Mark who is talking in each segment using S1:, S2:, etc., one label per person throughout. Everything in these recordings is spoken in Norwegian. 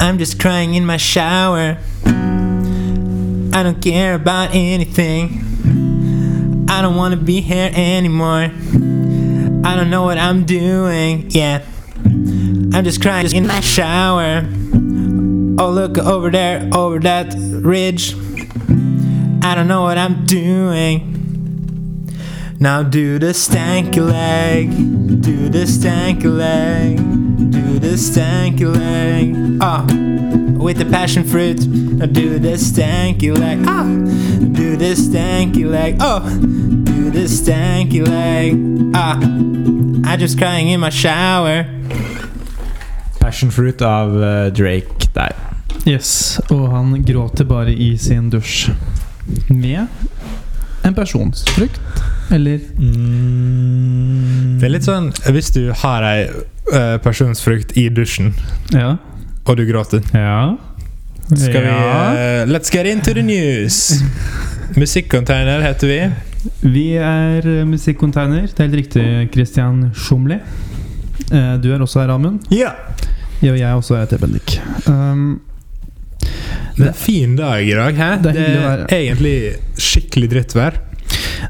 S1: I'm just crying in my shower. I don't care about anything. I don't wanna be here anymore. I don't know what I'm doing. Yeah. I'm just crying in my shower. Oh, look over there, over that ridge. I don't know what I'm doing. Now do the stanky leg, do the stanky leg, do the stanky leg. Ah, with the passion fruit. Now do the stanky leg. Ah, do the stanky leg. Oh, do the stanky leg. Ah, I just crying in my shower.
S2: Passion Fruit av eh, Drake der.
S3: Yes, og han gråter bare i sin dusj. Med en personsfrukt, eller
S2: Mm.
S3: Mm.
S4: Det er litt sånn hvis du har ei eh, personsfrukt i dusjen,
S3: Ja.
S4: og du gråter.
S3: Ja.
S4: Skal vi
S3: ja.
S4: eh, Let's get into the news! Musikkcontainer heter vi.
S3: Vi er eh, Musikkonteiner. Det er helt riktig, Christian Schumli. Eh, Du er også her, Amund.
S4: Ja!
S3: Ja, og jeg også heter Bendik. Um,
S4: Det er en fin dag i dag. Hæ?
S3: Det er hyggelig å være.
S4: egentlig skikkelig drittvær.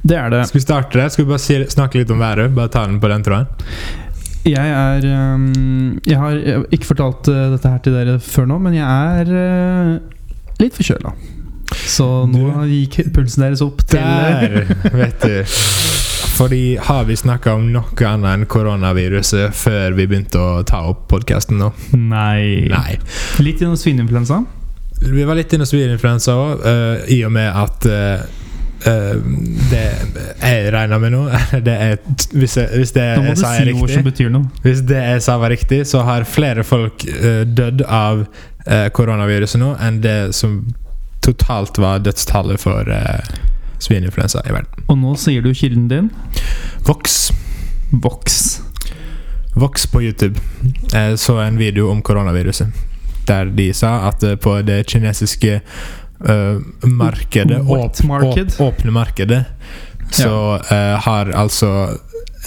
S3: det er det.
S4: Skal vi starte det? Skal vi bare si, snakke litt om været? Bare ta den på den tråden?
S3: Jeg er um, Jeg har eh, ikke fortalt eh, dette her til dere før nå, men jeg er eh, litt forkjøla. Så nå gikk pulsen deres opp til
S4: Der, vet du. Fordi har vi snakka om noe annet enn koronaviruset før vi begynte å ta opp podkasten nå?
S3: Nei.
S4: Nei.
S3: Litt gjennom svineinfluensaen.
S4: Vi var litt inne hos virusinfluensa òg, i og med at eh, eh, det jeg regner med nå det er, t- hvis, jeg, hvis det jeg
S3: Nå må du
S4: Eh, sa er
S3: si ord som
S4: riktig,
S3: betyr noe.
S4: Hvis det jeg sa var riktig, så har flere folk eh, dødd av eh, koronaviruset nå enn det som totalt var dødstallet for uh, svineinfluensa i verden.
S3: Og nå sier du kilden din.
S4: Vox.
S3: Vox.
S4: Vox på YouTube Jeg så en video om koronaviruset Der de sa at eh, på det kinesiske eh, markedet
S3: Wet
S4: åp-
S3: market.
S4: åp- Åpne markedet Så eh, har altså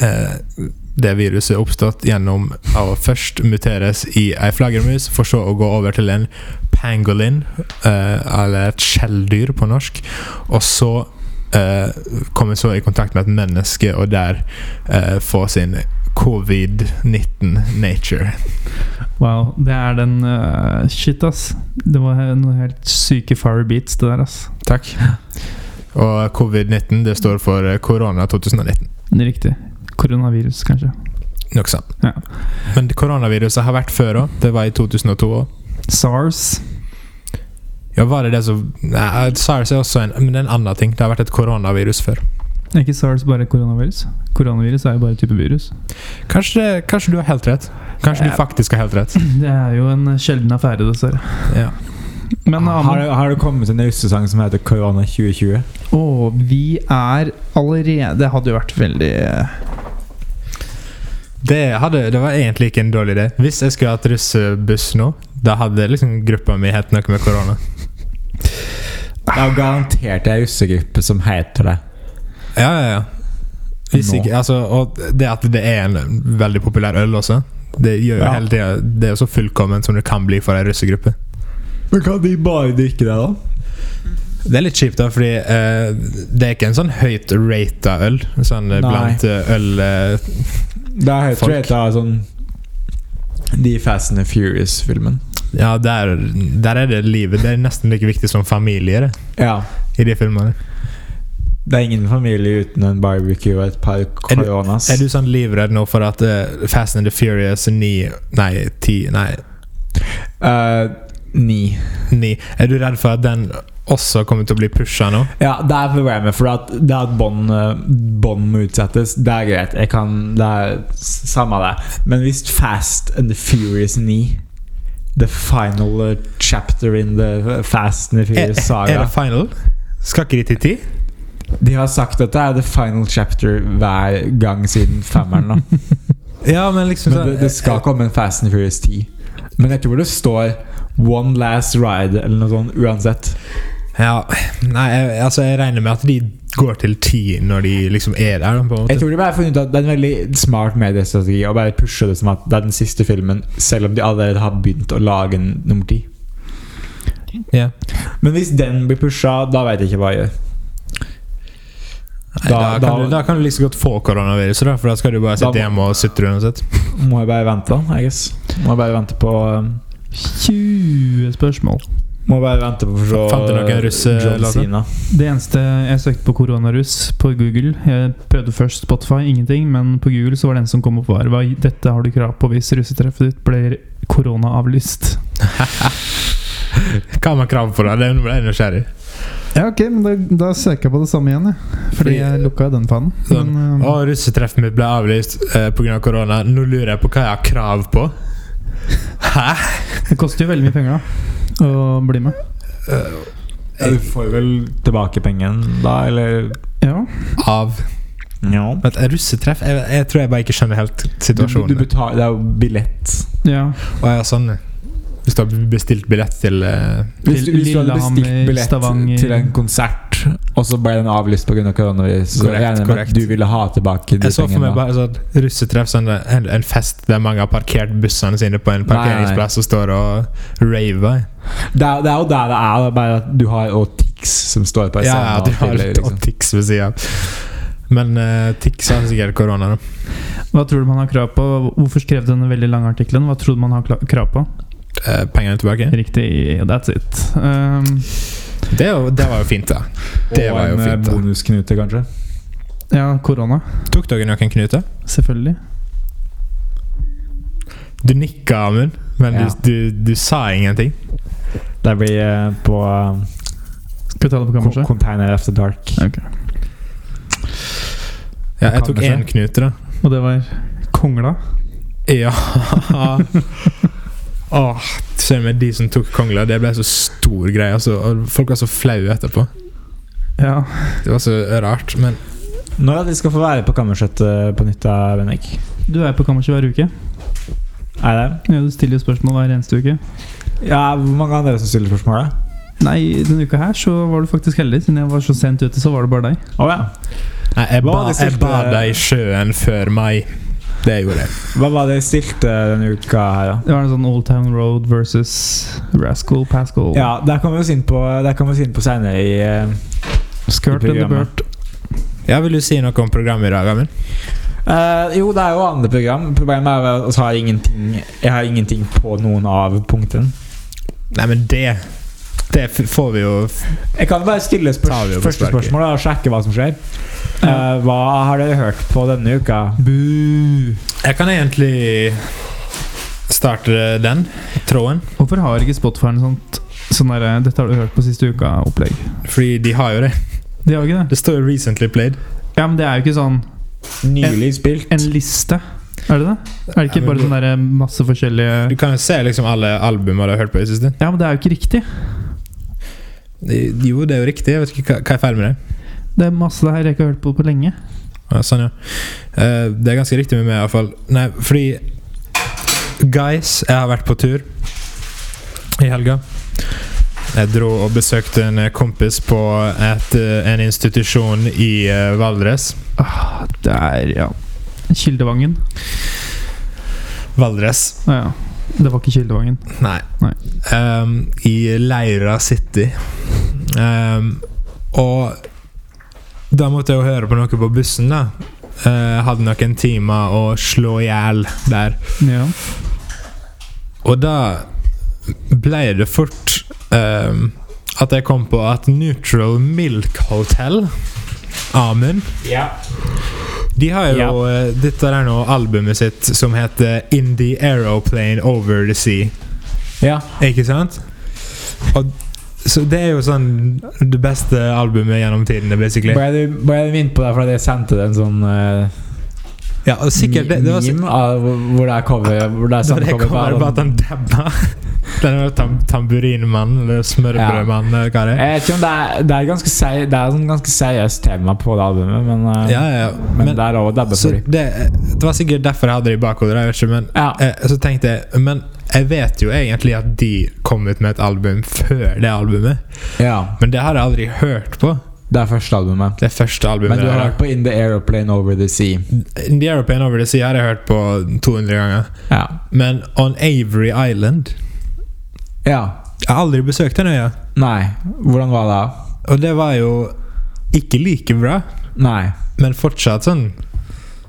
S4: eh, det viruset oppstått gjennom å først muteres i ei flaggermus, for så å gå over til en pangolin, eh, eller et skjelldyr på norsk, og så eh, komme så i kontakt med et menneske, og der eh, få sin covid-19 nature.
S3: Wow, det er den eh, Shit, ass. Det var he- noen helt syke fire beats, det der, ass.
S4: Takk. Og covid-19 det står for eh, korona 2019.
S3: Det er Riktig. Koronavirus, kanskje.
S4: Noe sånt.
S3: Ja.
S4: Men koronaviruset har vært før òg. Det var i 2002 òg.
S3: SARS.
S4: Ja, var det det som Nei, SARS er også en, men det er en annen ting. Det har vært et koronavirus før.
S3: Er ikke SARS bare koronavirus? Koronavirus er jo bare type virus.
S4: Kanskje, det- kanskje du har helt rett. Kanskje
S3: Ja.
S4: du faktisk har helt rett.
S3: Det er jo en eh, sjelden affære, dessverre.
S4: Ja.
S3: Men
S2: Har,
S3: Amund,
S2: det- har det kommet en østesang som heter Korona 2020?
S3: å, vi er allerede Det hadde jo vært veldig eh,
S4: Det, hadde, det var egentlig ikke en dårlig idé. Hvis jeg skulle hatt russebuss nå, da hadde liksom gruppa mi hett noe med korona.
S2: Det er jo garantert ei russegruppe som heter det.
S4: Ja, ja, ja. Hvis
S2: Nå.
S4: ikke, altså, og det at det er en veldig populær øl også, det gjør jo
S2: Ja.
S4: hele tida Det er jo så fullkomment som det kan bli for ei russegruppe.
S2: Men kan de bare drikke det, da?
S4: Det er litt kjipt, da, fordi eh, det er ikke en sånn høyt rata øl. Sånn eh,
S2: Nei.
S4: blant eh, øl eh,
S2: Det er helt
S4: Folk.
S2: rett av sånn De Fast and the Furious-filmen.
S4: Ja, der, der er det livet. Det er nesten like viktig som familie det,
S2: Ja.
S4: i de filmene.
S2: Det er ingen familie uten en barbecue og et par
S4: Er du-
S2: coronas.
S4: Er du sånn livredd nå for at eh, Fast and the Furious 9 Nei, 10 Nei,
S2: Eh, ni.
S4: 9 Er du redd for at den også kommer til å bli pusha nå?
S2: Ja, det er problemet, for at det at bånd eh, bånd må utsettes, det er greit. Jeg kan, det er s- samme det. Men hvis Fast and the Furious 9 The final eh, chapter in the eh, Fast and the
S4: Er,
S2: Furious
S4: er
S2: saga
S4: det final? Skal ikke de til 10?
S2: De har sagt at det er the final chapter hver gang siden femmeren. da.
S4: Ja, men liksom
S2: Men det, det skal komme en Fast and Furious 10. Men jeg tror det står One Last Ride eller noe sånt uansett.
S4: Ja, nei, jeg, altså jeg regner med at de går til ti når de liksom er der. da, på en måte.
S2: Jeg tror de bare har funnet ut at det er en veldig smart mediestrategi å bare pushe det som at det er den siste filmen, selv om de allerede har begynt å lage en nummer ti.
S4: Ja.
S2: Men hvis den blir pusha, da veit jeg ikke hva jeg gjør.
S4: Nei, da,
S2: Da-
S4: kan
S2: da-
S4: du, da kan du like så godt få koronaviruset, da, for da skal du bare
S2: Da
S4: sitte
S2: må-
S4: hjemme og sutre uansett.
S2: Må jeg bare vente, da, I guess. Må jeg bare vente på um,
S3: 20 spørsmål.
S2: Må bare vente på å se uh,
S4: Fant du noen russ, eh,
S2: John
S4: Lasse?
S2: Cena.
S3: Det eneste jeg søkte på koronaruss på Google Jeg prøvde først Spotify, ingenting, men på Google så var det en som kom opp var hva- Dette har du krav på hvis russetreffet ditt blir koronaavlyst.
S4: Hva har man krav på da? Det ble jeg nysgjerrig.
S3: Ja, ok, men da, da søker jeg på det samme igjen, jeg. Fordi
S4: Fordi-
S3: jeg lukka den fanen.
S4: Sånn.
S3: Men,
S4: Å,
S3: eh,
S4: russetreffet mitt ble avlyst eh, på grunn av korona. Nå lurer jeg på hva jeg har krav på. Hæ?
S3: det koster jo veldig mye penger, da. Å bli med.
S2: Ja, du får vel tilbake pengen da, eller
S3: Ja.
S4: Av
S2: Ja.
S4: Vent, russetreff? Jeg, jeg tror jeg bare ikke skjønner helt
S2: Du, du
S4: situasjonen.
S2: betaler, det er jo billett.
S3: ja.
S4: Å, ja, sånn. Hvis du har bestilt billett til eh,
S2: Hvis, du- hvis du hadde
S3: Lillehammer,
S2: bestilt billett
S3: Stavanger.
S2: til en konsert, og så ble den avlyst pga. koronavirus, så
S4: Korrekt,
S2: jeg regner med
S4: korrekt.
S2: at du ville ha tilbake de
S4: Jeg så for meg
S2: pengene.
S4: bare sånn russetreff, sånn en, en fest der mange har parkert bussene sine på en
S2: Nei, nei.
S4: parkeringsplass og står og raver.
S2: Det er, det er jo der det er, det er bare at du har også Tix som står på en
S4: Ja,
S2: scene
S4: ja,
S2: og
S4: du har
S2: spiller,
S4: litt
S2: liksom.
S4: Tix ved sida av. Men eh, Tix har sikkert korona, da.
S3: Hva tror du man har krav på? Hvorfor skrev du den veldig lange artikkelen? Hva tror du man har kla- krav på?
S4: Eh, pengene tilbake.
S3: Riktig, that's it. Um,
S4: Det, er jo- det var jo fint, da. Det var jo
S2: og en eh,
S4: fint. da
S2: bonusknute, kanskje.
S3: ja, korona.
S4: Tok dere noen knuter?
S3: Selvfølgelig.
S4: Du nikka, Amund, men
S2: Ja.
S4: du, du, du sa ingenting.
S2: Det blir eh, på eh,
S3: Skal vi ta det på
S2: kon-
S3: kammerset?
S2: Container After Dark.
S3: Ok.
S4: Ja, jeg tok
S2: Kanskje.
S4: én knute, da.
S3: Og det var kongla.
S4: Ja. Åh, Søren meg, de som tok kongla, det ble så stor greie. Altså, og folk var så flaue etterpå.
S3: Ja.
S4: Det var så rart. Men
S2: Når er det vi skal få være på Kammersettet på nytt, da, Bennik?
S3: Du er på kammerset hver uke.
S2: Er det?
S3: Ja, du stiller jo spørsmål hver eneste uke.
S2: Ja, Hvor mange av dere som stiller spørsmål? da?
S3: Nei, denne uka her så var du faktisk heldig. Siden jeg var så sent ute, så var det bare deg.
S2: Å ja.
S4: nei, jeg,
S2: Hva
S4: ba,
S2: var det
S4: jeg
S2: siste-
S4: bada i sjøen før mai. Det gjorde jeg.
S2: Hva var det jeg stilte eh, denne uka her, da?
S3: Det var en sånn Old Town Road versus Rascal Pascal.
S2: Ja, Der kommer vi oss inn på eh, Der kommer vi oss inn på senere i eh,
S3: Skirt
S2: I
S3: and the
S2: programmet.
S3: Burt.
S4: Ja, Vil du si noe om programmet i dag, Amund?
S2: eh, Jo, det er jo andre program. Problemet er at jeg har ingenting Jeg har ingenting på noen av punktene.
S4: Nei, men det Det f- får vi jo
S2: Jeg kan bare stille
S4: Tar vi
S2: spørs
S4: opp
S2: første
S4: sparket.
S2: spørsmål da, og sjekke hva som skjer. Eh, hva har dere hørt på denne uka?
S4: Jeg kan egentlig starte den tråden.
S3: Hvorfor har ikke Spotify en sånt sånn derre 'dette har du hørt på siste uka'-opplegg?
S4: Fordi de har jo det.
S3: De har ikke det.
S4: Det står jo 'recently played'.
S3: Ja, men det er jo ikke sånn
S2: Nylig spilt.
S3: en liste. Er det det? Er det ikke
S4: Ja, men
S3: bare
S4: du-
S3: sånn derre masse
S4: Du
S3: forskjellige
S4: kan jo se liksom alle albumene du har hørt på i det siste.
S3: Ja, men det er jo ikke riktig.
S4: Jo, det er jo riktig. Jeg vet ikke hva, hva er feil med det.
S3: Det er masse det her jeg ikke har hørt på på lenge.
S4: Ja, sånn, ja. Eh, det er ganske riktig med meg, iallfall. Nei, fordi Guys, jeg har vært på tur i helga. Jeg dro og besøkte en eh, kompis på et, eh, en institusjon i eh, Valdres.
S3: Ah, det er ja Kildevangen.
S4: Valdres.
S3: Ah, ja. Det var ikke Kildevangen.
S4: Nei.
S3: Nei.
S4: Ehm, I Leira City. Ehm, og da måtte jeg jo høre på noe på bussen, da. Eh, hadde noen timer å slå i hjel der.
S3: Ja.
S4: Og da ble det fort ehm, at jeg kom på at Neutral Milk Hotel Amund
S2: Ja.
S4: De har jo eh, dette der nå albumet sitt som heter In the Aeroplane Over the Sea.
S2: ja.
S4: Ikke sant? Og, så det er jo sånn det beste albumet gjennom tidene, basically.
S2: Ble du ble du minnet på det fordi jeg sendte deg en sånn eh,
S4: Ja, og sikkert det, det var
S2: meme av hvor det er cover Hvor det er
S4: så
S2: samme
S4: det
S2: cover på
S4: kommer
S2: alle.
S4: bare at han dabba. Den der tam tamburinmannen eller smørbrødmannen eller hva det er.
S2: Jeg vet ikke om det er, det er ganske sei, Det er sånn ganske seriøst tema på det albumet, men, eh,
S4: Ja, ja, ja.
S2: men,
S4: Men
S2: det er lov å dabbe
S4: så
S2: for dem.
S4: det, det var sikkert derfor jeg hadde det i bakhodet, jeg vet ikke, men
S2: Ja.
S4: eh, så tenkte jeg Men Jeg vet jo egentlig at de kom ut med et album før det albumet,
S2: Ja,
S4: men det har jeg aldri hørt på.
S2: det er første albumet.
S4: Det første albumet
S2: Men du
S4: jeg
S2: har
S4: har
S2: hørt på In The Aeroplane Over The Sea.
S4: hørt. The Aeroplane Over The Sea har jeg hørt på 200 ganger.
S2: Ja.
S4: Men On Avery Island
S2: ja.
S4: Jeg har aldri besøkt den øya.
S2: Nei. Hvordan var det?
S4: Og det var jo ikke like bra,
S2: Nei.
S4: men fortsatt sånn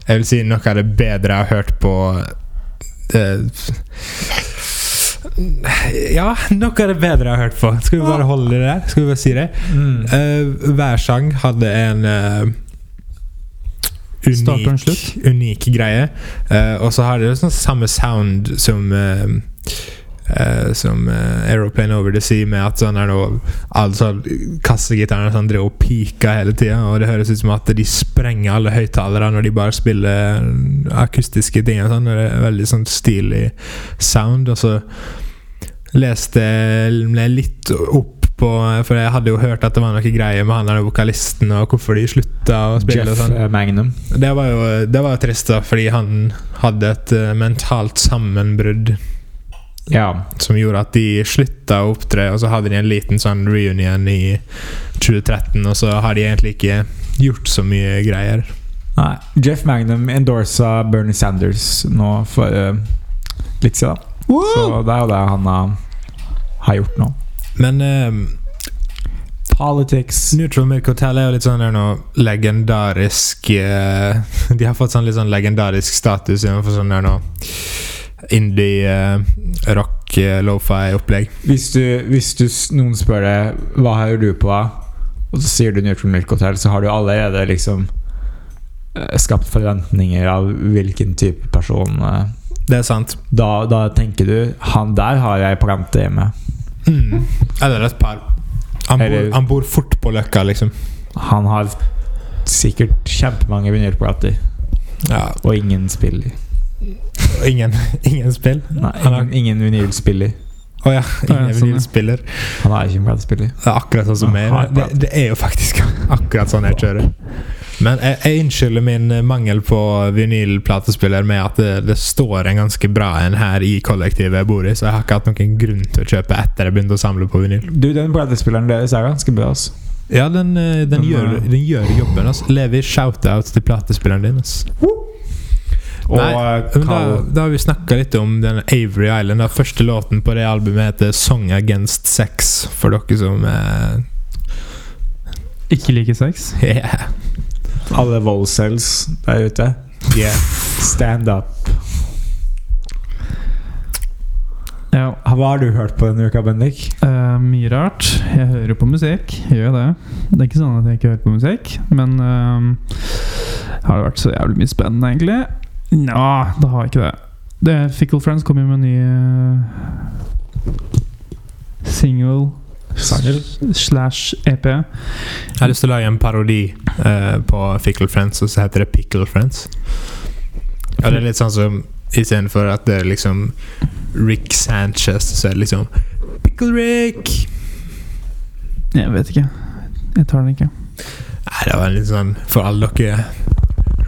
S4: Jeg vil si noe av det bedre jeg har hørt på eh, Ja, noe av det bedre jeg har hørt på. Skal vi bare holde det der? Skal vi bare si det?
S2: Mm.
S4: Eh, hver sang hadde en eh,
S3: Start og en
S4: unik, unik greie. Eh, og så har det jo sånn samme sound som eh, eh, Som eh, Aeroplane Over The Sea, med at sånn er noe Altså kassegitaren sånn driver og piker hele tida, og det høres ut som at de sprenger alle høyttalere når de bare spiller akustiske ting. Og sånn, og det er veldig sånn stilig sound. Og så leste jeg litt opp på For jeg hadde jo hørt at det var noe greier med han der vokalisten, og hvorfor de slutta å spille. og
S2: Jeff
S4: sånn
S2: eh, Magnum.
S4: det var jo, det var jo trist, da, fordi han hadde et eh, mentalt sammenbrudd
S2: Ja.
S4: som gjorde at de slutta å opptre, og så hadde de en liten sånn reunion i 2013, og så har de egentlig ikke gjort så mye greier.
S2: Nei. Jeff Magnum endorsa Bernie Sanders nå for eh, litt siden. Så det er jo det han eh, har gjort nå.
S4: Men eh,
S2: Politics.
S4: Neutral Milk Hotel er jo litt sånn der nå legendarisk eh, De har fått sånn litt sånn legendarisk status innenfor sånn der nå indie eh, rock, uh, lofi-opplegg.
S2: Hvis du, hvis du s- noen spør deg hva hører du på, og så sier du Neutral Milk Hotel, så har du allerede liksom eh, skapt forventninger av hvilken type person eh,
S4: Det er sant.
S2: da, da tenker du 'han der har jeg på rente hjemme'.
S4: Mm. Eller et par. Han bor,
S2: Eller-
S4: han bor fort på Løkka, liksom.
S2: Han har sikkert kjempemange vinylplater,
S4: Ja,
S2: og ingen spiller.
S4: og ingen, ingen spill.
S2: Nei,
S4: Han har-
S2: ingen, ingen vinylspiller.
S4: Å ja,
S3: Ja,
S4: ingen
S3: sånn, ja.
S4: vinylspiller.
S2: Han er ikke en platespiller.
S4: Det er akkurat sånn som meg.
S2: Hard
S4: Det,
S2: prat.
S4: det er jo faktisk akkurat sånn jeg kjører. Men jeg, jeg unnskylder min eh, mangel på vinylplatespiller med at det, det står en ganske bra en her i kollektivet jeg bor i, så jeg har ikke hatt noen grunn til å kjøpe etter jeg begynte å samle på vinyl.
S2: Du, den platespilleren deres er ganske bra, altså.
S4: Ja, den, eh, den,
S2: Den,
S4: gjør,
S2: eh,
S4: den gjør jobben. Altså. Levi, shout-out til platespilleren din. Altså.
S2: Og
S4: Nei,
S2: eh,
S4: Men da,
S2: Carl-
S4: da har vi snakka litt om den Avery Island. Da. Første låten på det albumet heter 'Song Against Sex', for dere som eh,
S3: Ikke like sex.
S4: yeah,
S2: alle voldsels der ute.
S4: yeah.
S2: Stand up.
S3: Ja,
S2: Hva har du hørt på denne uka, Bendik?
S3: Eh, mye rart. Jeg hører jo på musikk. Jeg gjør det. Det er ikke sånn at jeg ikke hører på musikk, men eh, har det vært så jævlig mye spennende, egentlig? Nja, det har ikke det. det Fickle Friends kom jo med en ny eh, single
S2: Sangel.
S3: slash E EP.
S4: Jeg har lyst til å lage en parodi eh, på Fickle Friends, og så heter det Pickle Friends. Og det er litt sånn som istedenfor at det er liksom Rick Sanchez, så er det liksom Pickle Rick!
S3: Jeg vet ikke. Jeg tar den ikke.
S4: Nei, det var litt sånn for alle dere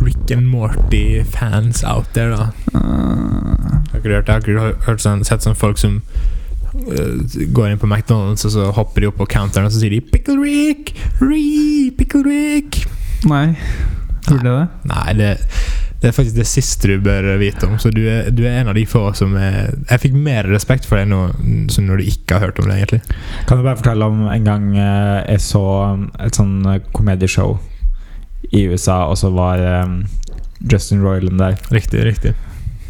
S4: Rick and Morty-fans out there, da.
S3: Eh,
S4: Har ikke du hørt, har ikke du hørt, hørt sånn, sett sånn folk som eh, går inn på McDonald's, og så hopper de opp på counteren, og så sier de 'Pickle Rick! Ree! Pickle Rick!'
S3: nei. Burde jeg det?
S4: Nei, det, det er faktisk det siste du bør vite om. Så du er, du er en av de få som er Jeg fikk mer respekt for deg nå så når du ikke har hørt om det, egentlig.
S2: Kan du bare fortelle om en gang eh, jeg så um, et sånn eh, komedieshow i USA, og så var um, Justin Roiland der.
S4: Riktig, riktig.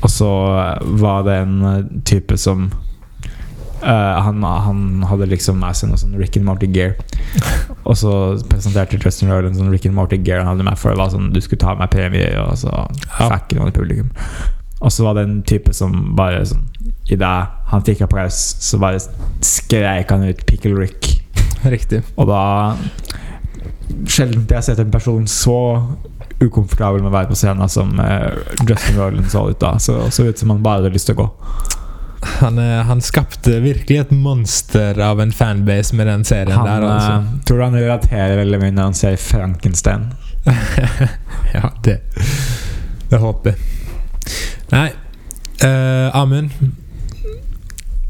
S2: Og så eh, var det en eh, type som eh, han, han hadde liksom med seg noe sånn Rick and Morty gear. Og så presenterte Justin Roiland sånn Rick and Morty gear han hadde med for det var sånn du skulle ta med premie, og så
S4: Ja.
S2: fikk han noe i publikum. Og så var det en type som bare sånn Idet han fikk applaus, så bare skreik han ut 'Pickle Rick'.
S4: Riktig.
S2: Og da Sjelden har jeg sett en person så ukomfortabel med å være på scenen som eh, Justin Roiland så ut da. Så, så ut som han bare hadde lyst til å gå.
S4: Han, eh, han skapte virkelig et monster av en fanbase med den serien
S2: Han,
S4: der, altså.
S2: eh, tror du han relaterer veldig mye når han ser Frankenstein?
S4: eh, ja, det Det håper jeg. Nei, eh, Amund.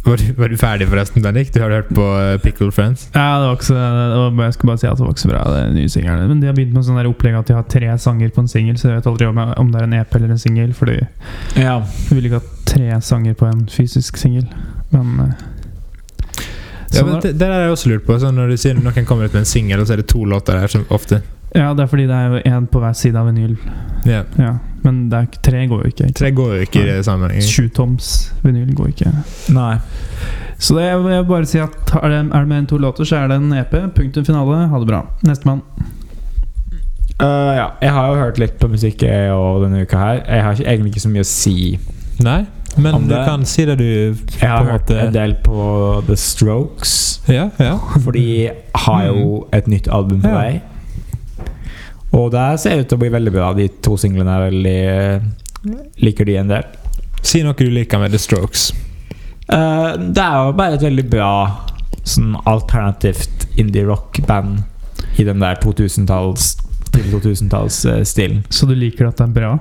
S4: Var du, var du ferdig forresten, Bendik? Du har hørt på eh, Pickle Friends?
S3: Ja, det var ikke så, det var, bare- jeg skulle bare si at det var ikke så bra, det nye singelen. Men de har begynt med sånn der opplegg at de har tre sanger på en singel, så jeg vet aldri om, jeg, om det er en EP eller en singel, fordi
S2: Ja.
S3: jeg vil ikke ha tre sanger på en fysisk singel. Men eh,
S4: Ja,
S3: sånn
S4: men
S3: er-
S4: det, det der har jeg også lurt på. Sånn når du sier noen kommer ut med en singel, og så er det to låter der som ofte
S3: ja, det er fordi det er jo én på hver side av vinyl.
S4: Ja.
S3: Ja, men det er, ikke- tre går jo ikke. ikke?
S4: Tre går jo ikke i det sammenhengen.
S3: Sju toms vinyl går ikke.
S2: Nei.
S3: Så det, jeg vil bare si at er det, er det mer enn to låter, så er det en EP. Punktum finale. Ha det bra. Nestemann.
S2: Eh, ja. Jeg har jo hørt litt på musikk jeg og denne uka her. Jeg har ikke, egentlig ikke så mye å si.
S4: Nei,
S2: Om
S4: men du
S2: det-
S4: kan si det du
S2: Jeg har
S4: På en
S2: hørt
S4: måte-
S2: en del på The Strokes.
S4: Ja, ja.
S2: For de har jo et nytt album på
S4: Ja.
S2: vei. Og det her ser ut til å bli veldig bra. De to singlene er veldig eh, Liker de en del.
S4: Si noe du liker med The Strokes.
S2: Eh, det er jo bare et veldig bra sånn alternativt indie-rock-band i den der 2000-talls til 2000-tallsstilen.
S3: Så du liker at det er bra?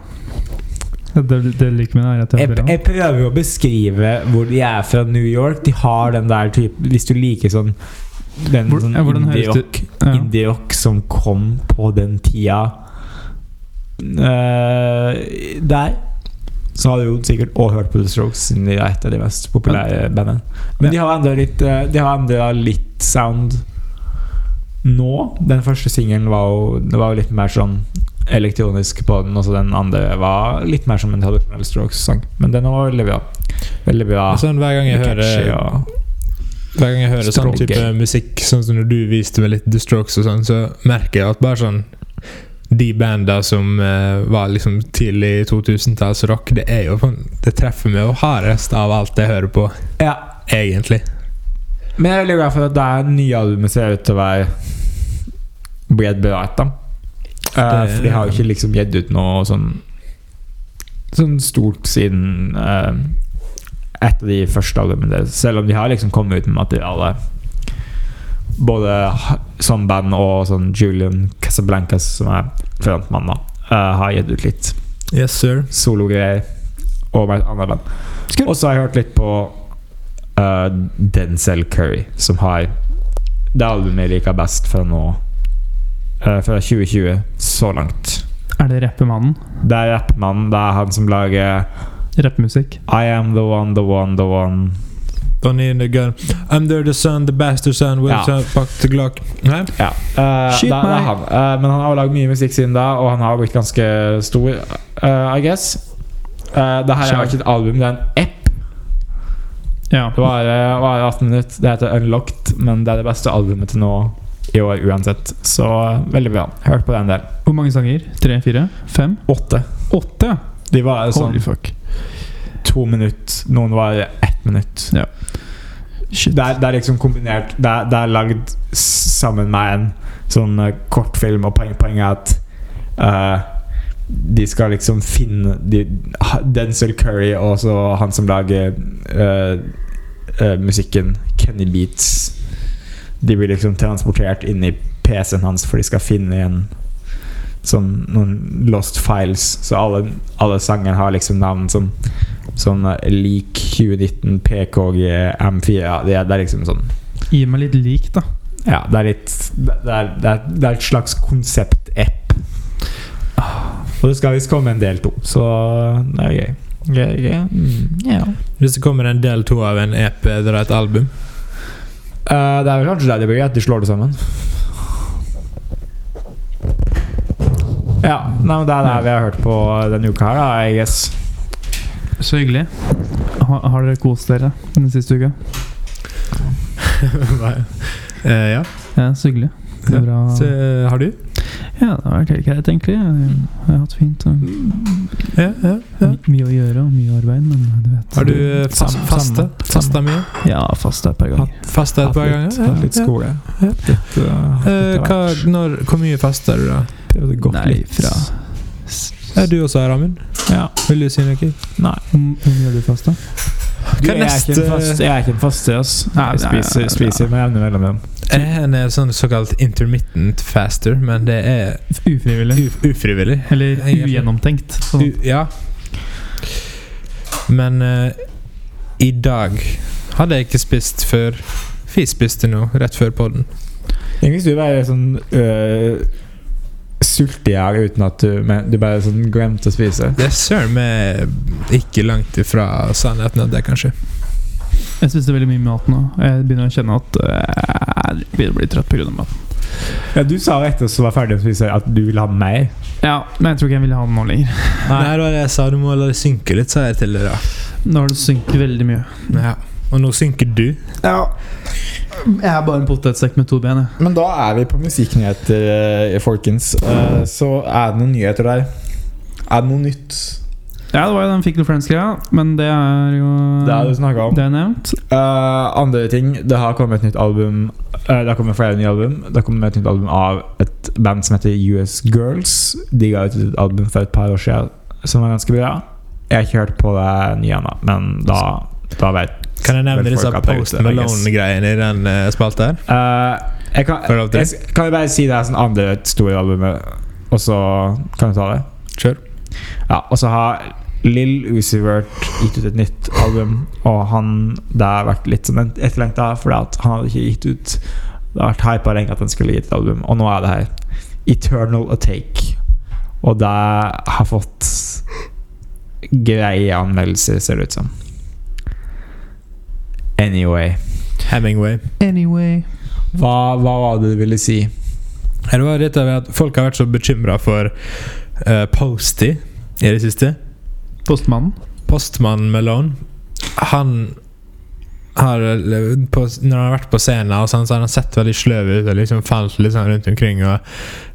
S3: Det, det liker med det er at det
S4: E
S2: Jeg,
S3: er bra.
S2: jeg prøver jo å beskrive hvor de er fra New York. De har den der type Hvis du liker sånn den
S3: Hvor-
S2: sånn
S3: ja, hvordan høres det-
S2: indie-rock
S3: Ja.
S2: indie-rock som kom på den tida eh, der, så har du jo sikkert også hørt på The Strokes, siden de er et av de mest populære bandene. Men de har endra litt eh, De har endra litt sound nå. Den første singelen var jo Det var jo litt mer sånn elektronisk på den, og så den andre var litt mer som en tradisjonell Strokes-sang. Men den var veldig bra. Veldig bra.
S4: Sånn, hver gang jeg
S2: catchy,
S4: hører
S2: og-
S4: Hver gang jeg hører sånn
S2: Stroke.
S4: type musikk, sånn som når du viste meg litt The Strokes og sånn, så merker jeg at bare sånn De banda som eh, var liksom tidlig 2000-tallsrock, det er jo sånn- Det treffer meg jo hardest av alt jeg hører på,
S2: Ja,
S4: egentlig.
S2: Men jeg er veldig glad for at det er nye albumet ser ut til å være bli et bra et, da. Eh,
S4: Det-
S2: for de har jo ikke liksom gitt ut noe sånn Sånn stort siden eh, et av de første albumene deres. Selv om de har liksom kommet ut med materiale både ha- som band og sånn Julian Casablancas, som er frontmann, da, eh, har gitt ut litt
S4: Yes, sir.
S2: sologreier og med et annet band. Og så har jeg hørt litt på eh, Denzel Curry, som har det albumet jeg liker best fra nå. eh, fra 2020, så langt.
S3: Er det rappemannen?
S2: Det er rappmannen. Det er han som lager
S3: Rappemusikk?
S2: I am the one, the one, the one.
S4: Don't need a gun. I'm there the son, the bastard son, will
S2: Ja.
S4: ja. fuck the glock. Nei?
S2: Ja. eh,
S3: Skyt
S2: det, det
S3: meg.
S2: er han. Eh, men han har jo lagd mye musikk siden da, og han har blitt ganske stor, eh, I guess. Uh, det her er jo ikke et album, det er en app.
S3: Ja.
S2: Det varer varer 18 minutter. Det heter Unlocked, men det er det beste albumet til nå i år uansett. Så eh, veldig bra. Hørt på den del.
S3: Hvor mange sanger? Tre? Fire? Fem?
S2: Åtte.
S3: Åtte? ja.
S2: De var sånn
S3: Holy fuck.
S2: to minutter. Noen var eh, ett minutt.
S3: Ja. Shit.
S2: Det er, det er liksom kombinert Det er, det er lagd s- sammen med en sånn eh, kortfilm, og poeng, poenget er at eh, de skal liksom finne de, ha- Denzel Curry og så han som lager eh, eh, musikken, Kenny Beats De blir liksom transportert inn i PC-en hans, for de skal finne igjen sånn noen lost files. Så alle, alle sangene har liksom navn som Sånn eh, lik 2019 PKG M4 ja, det, er, det er liksom sånn
S3: Gi meg litt lik, da.
S2: Ja, det er litt Det det er, det er, det er et slags konsept-app. Og det skal visst komme en del to, så det er gøy. Gøy, gøy. Mm, ja.
S4: Hvis det kommer en del to av en E EP eller et album
S2: Eh, det er vel kanskje der det blir, at de slår det sammen. Ja, nei, men det er det vi har hørt på denne uka her, da, I guess.
S3: Så hyggelig. Ha, har dere kost dere den siste uka?
S4: Eh, Ja.
S3: Ja, så hyggelig. Det er bra.
S4: Så, eh, har du?
S3: Ja, det har vært helt greit, egentlig. Jeg har hatt fint. Og
S4: Ja, ja, ja.
S3: my- mye å gjøre og mye arbeid, men du vet
S4: Har du eh, fast,
S2: Samme-
S4: fasta?
S2: samme.
S4: Fasta mye?
S3: Ja, fast der et par ganger.
S4: Fasta et par ganger? Ja,
S2: Hatt litt
S4: ja.
S2: skole.
S4: Ja.
S2: Litt, eh,
S4: Eh,
S2: litt
S4: hva,
S2: av hvert.
S4: når, hvor mye faster du, da?
S2: Prøvde gått
S3: Nei,
S2: litt
S3: fra
S4: Er du også, Ramin?
S2: Ja.
S4: Vil du si noe?
S2: Nei.
S3: Hvor mye gjør du fast, da?
S2: Du,
S4: Hva
S2: jeg, er ikke
S4: neste-
S2: en fast, jeg er ikke en faste, ass.
S3: Nei,
S2: jeg
S3: nei,
S2: spiser,
S3: nei,
S2: spiser med jevne mellomrom.
S4: En er sånn såkalt intermittent faster, men det er
S3: Ufrivillig.
S4: uf ufrivillig.
S3: Eller
S4: Jeg er for-
S3: ugjennomtenkt. Sånn.
S4: U ja. Men eh, i dag hadde jeg ikke spist før Vi spiste nå, rett før podden.
S2: Egentlig skulle du være sånn øh, sultejæger uten at du, men, du bare sånn glemte å spise.
S4: Det er søren meg ikke langt ifra sannheten av det, kanskje.
S3: Jeg spiser veldig mye mat nå. Jeg begynner å kjenne at eh, jeg begynner å bli trøtt pga. maten.
S2: Ja, du sa etter at du var ferdig å spise, at du ville ha mer.
S3: Ja, men jeg tror ikke jeg vil ha den nå lenger.
S4: Nei, det var det jeg sa. Du må la det synke litt, sa jeg til deg. da.
S3: Nå har det sunket veldig mye.
S4: Ja. Og nå synker du.
S3: Ja. Jeg er bare en potetsekk med to ben. jeg.
S2: Men da er vi på musikknyheter, eh, folkens. Eh, Så er det noen nyheter der. Er det noe nytt?
S3: Ja, det var jo den Fickle Friends-greia, men det er jo
S2: Det er Mm. det du snakka om.
S3: det er nevnt.
S2: Eh, andre ting Det har kommet et nytt album. eh, det har kommet flere nye album. Det har kommet et nytt album av et band som heter US Girls. De ga ut et album for et par år siden som var ganske bra. Jeg har ikke hørt på det nye ennå, men da, da vet
S4: Kan jeg nevne
S2: Vel,
S4: disse
S2: folk har tatt
S4: Post
S2: det, I guess.
S4: Malone-greiene i den eh, spalta her?
S2: Eh, jeg kan,
S4: Får jeg lov til?
S2: jeg, kan jeg bare si det er sånn andre store albumet, og så kan du ta det?
S4: Kjør.
S2: Ja, og så har Lill Uzi Vert gitt ut et nytt album, og han, det har vært litt sånn etterlengta, for at han hadde ikke gitt ut Det har vært hypa lenge at han skulle gitt et album, og nå er det her. Eternal A Take. Og det har fått greie anmeldelser, ser det ut som. Anyway.
S4: Hemingway.
S3: Anyway.
S2: Hva, hva var det du ville si?
S4: Det var dette ved at folk har vært så bekymra for eh, Posty i det siste.
S3: Postmannen.
S4: Postmann Malone Han har eh, på, Når han har vært på scenen og sånn, så har han sett veldig sløv ut og liksom falt litt sånn rundt omkring og